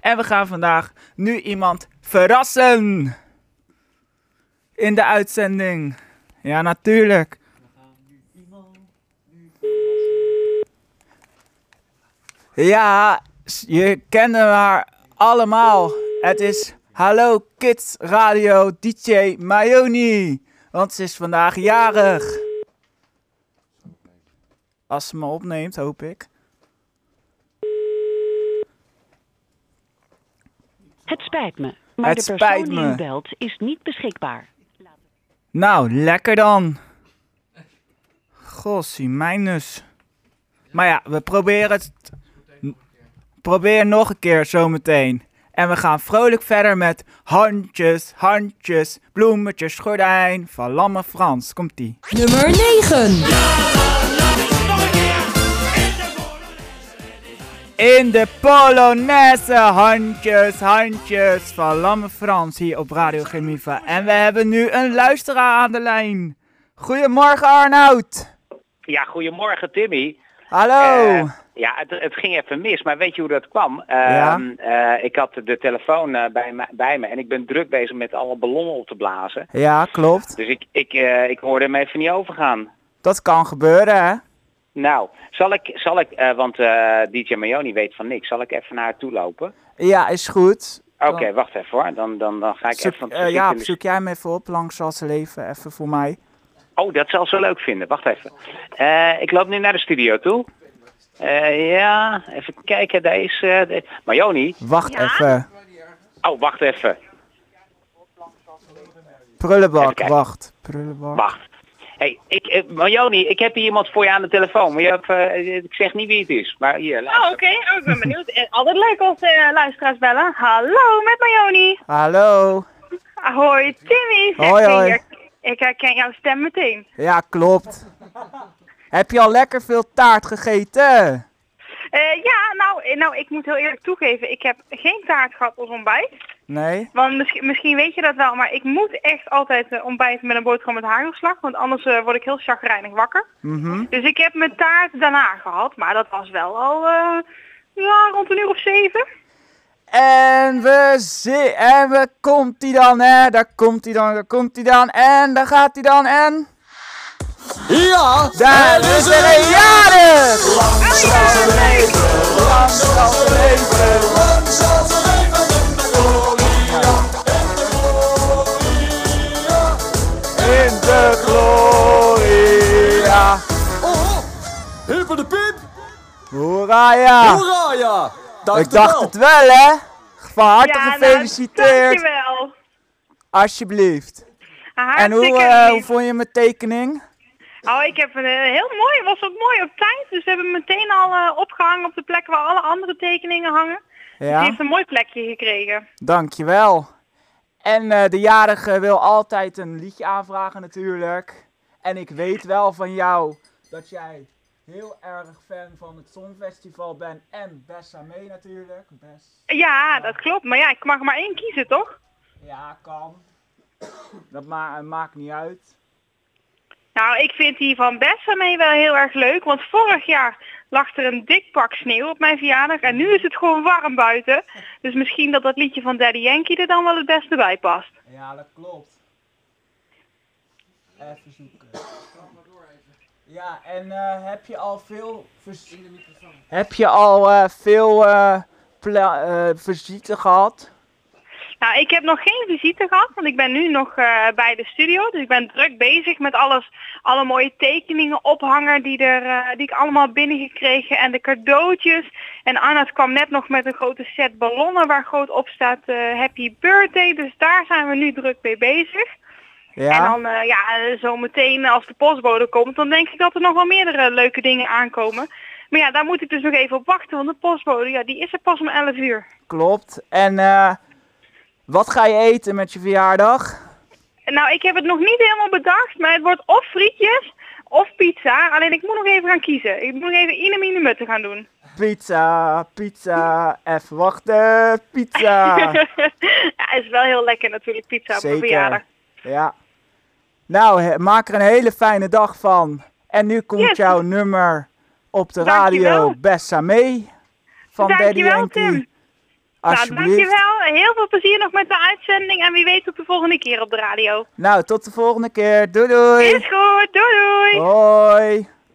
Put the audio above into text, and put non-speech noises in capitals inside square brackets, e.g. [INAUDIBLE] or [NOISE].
En we gaan vandaag nu iemand verrassen. In de uitzending. Ja, natuurlijk. Ja, s- je kennen haar allemaal. Het is Hallo Kids Radio DJ Mayoni. Want ze is vandaag jarig. Als ze me opneemt, hoop ik. Het spijt me, maar Het de spijt persoon die me. u belt is niet beschikbaar. Nou, lekker dan. Gossie, mijnus. Maar ja, we proberen het. Probeer nog een keer zometeen. En we gaan vrolijk verder met handjes, handjes, bloemetjes, gordijn van Lamme Frans. Komt-ie. Nummer 9. In de Polonaise, handjes, handjes van Lamme Frans hier op Radio Gemiva. En we hebben nu een luisteraar aan de lijn. Goedemorgen Arnoud. Ja, goedemorgen Timmy. Hallo. Eh, ja, het, het ging even mis, maar weet je hoe dat kwam? Ehm, eh, ik had de telefoon eh, bij, me, bij me en ik ben druk bezig met alle ballonnen op te blazen. ja, klopt. Dus ik, ik, eh, ik hoorde hem even niet overgaan. Dat kan gebeuren, hè? Nou, zal ik, zal ik eh, want eh, DJ Mayoni weet van niks, zal ik even naar haar toe lopen? Ja, is goed. Oké, Dan- wacht even hoor, dan, dan, dan ga ik Zoek, even... van het eh, verkeer in Jaap, de- zoek jij hem even op langs zal ze leven, even voor mij. Oh, dat zal ze leuk vinden, wacht even. Eh, ik loop nu naar de studio toe. Eh, ja, even kijken, daar is... eh, de- Mayoni, Wacht even. oh wacht even. Even Prullenbak, kijken. wacht. Prullenbak. Wacht. hey, ik, eh, Marjoni, ik heb hier iemand voor je aan de telefoon. Maar je hebt, eh, ik zeg niet wie het is, maar hier, Oh, luister. oké. Oh, ik ben benieuwd. Eh, Altijd leuk als eh, luisteraars bellen. Hallo, met Mayoni. Hallo. Hoi, Timmy. Zeg, Hoi, hoi. Ik, ik herken jouw stem meteen. Ja, klopt. Heb je al lekker veel taart gegeten? Eh, ja, nou, eh, nou, ik moet heel eerlijk toegeven. Ik heb geen taart gehad als ontbijt. Nee? Want misschien, misschien weet je dat wel, maar ik moet echt altijd eh, ontbijten met een boterham met hagelslag. Want anders eh, word ik heel chagrijnig wakker. Mhm. Dus ik heb mijn taart daarna gehad. Maar dat was wel al eh, ja, rond een uur of zeven. En we zien, en we komt hij dan, hè? Daar komt hij dan, daar komt hij dan, en daar gaat hij dan, en... Ja, Daar is er een jarig! In de gloria. oh, hippe de pip, Hoera ja! hoera ja. Dacht Ik dacht het wel hè! Van harte nou, gefeliciteerd! dankjewel. Alsjeblieft. En hoe, Hartstikke eh, lief. hoe vond je mijn tekening? Oh, ik heb een eh, heel mooi, was ook mooi op tijd. Dus we hebben hem meteen al eh, opgehangen op de plek waar alle andere tekeningen hangen. Die Ja, heeft een mooi plekje gekregen. dankjewel. En eh, de jarige wil altijd een liedje aanvragen natuurlijk. En ik weet wel van jou dat jij heel erg fan van het Songfestival bent. En Bessamee natuurlijk. Bes Ja, dat klopt. Maar ja, ik mag maar één kiezen, toch? ja, kan. Dat ma- maakt niet uit. Nou, ik vind die van Bessamee wel heel erg leuk. Want vorig jaar lag er een dik pak sneeuw op mijn verjaardag. En nu is het gewoon warm buiten. Dus misschien dat dat liedje van Daddy Yankee er dan wel het beste bij past. Ja, dat klopt. Even zoeken. Ja, en eh, heb je al veel... Vers... Heb je al eh, veel eh pla- eh, visite gehad? Nou, ik heb nog geen visite gehad, want ik ben nu nog eh, bij de studio. Dus ik ben druk bezig met alles, alle mooie tekeningen ophangen die, er, eh, die ik allemaal binnengekregen en de cadeautjes. En Arnoud kwam net nog met een grote set ballonnen waar groot op staat eh, Happy Birthday. Dus daar zijn we nu druk mee bezig. En Ja. dan eh, ja, zo meteen als de postbode komt, dan denk ik dat er nog wel meerdere leuke dingen aankomen. Maar ja, daar moet ik dus nog even op wachten, want de postbode, ja, die is er pas om 11 uur. Klopt. En eh, wat ga je eten met je verjaardag? Nou, ik heb het nog niet helemaal bedacht, maar het wordt of frietjes of pizza. Alleen ik moet nog even gaan kiezen. Ik moet nog even in mine mutten gaan doen. Pizza, pizza, even wachten, [LAUGHS] pizza. ja, is wel heel lekker natuurlijk pizza op een verjaardag. Ah. Zeker. Ja. Nou, he- maak er een hele fijne dag van. En nu komt Yes. jouw nummer op de Dankjewel. radio Bessa mee van Daddy Dankjewel Yankee. Tim. Nou, Alsjeblieft. dankjewel. Heel veel plezier nog met de uitzending. En wie weet tot de volgende keer op de radio. Nou, tot de volgende keer. Doei doei. Is goed. Doei doei. Hoi.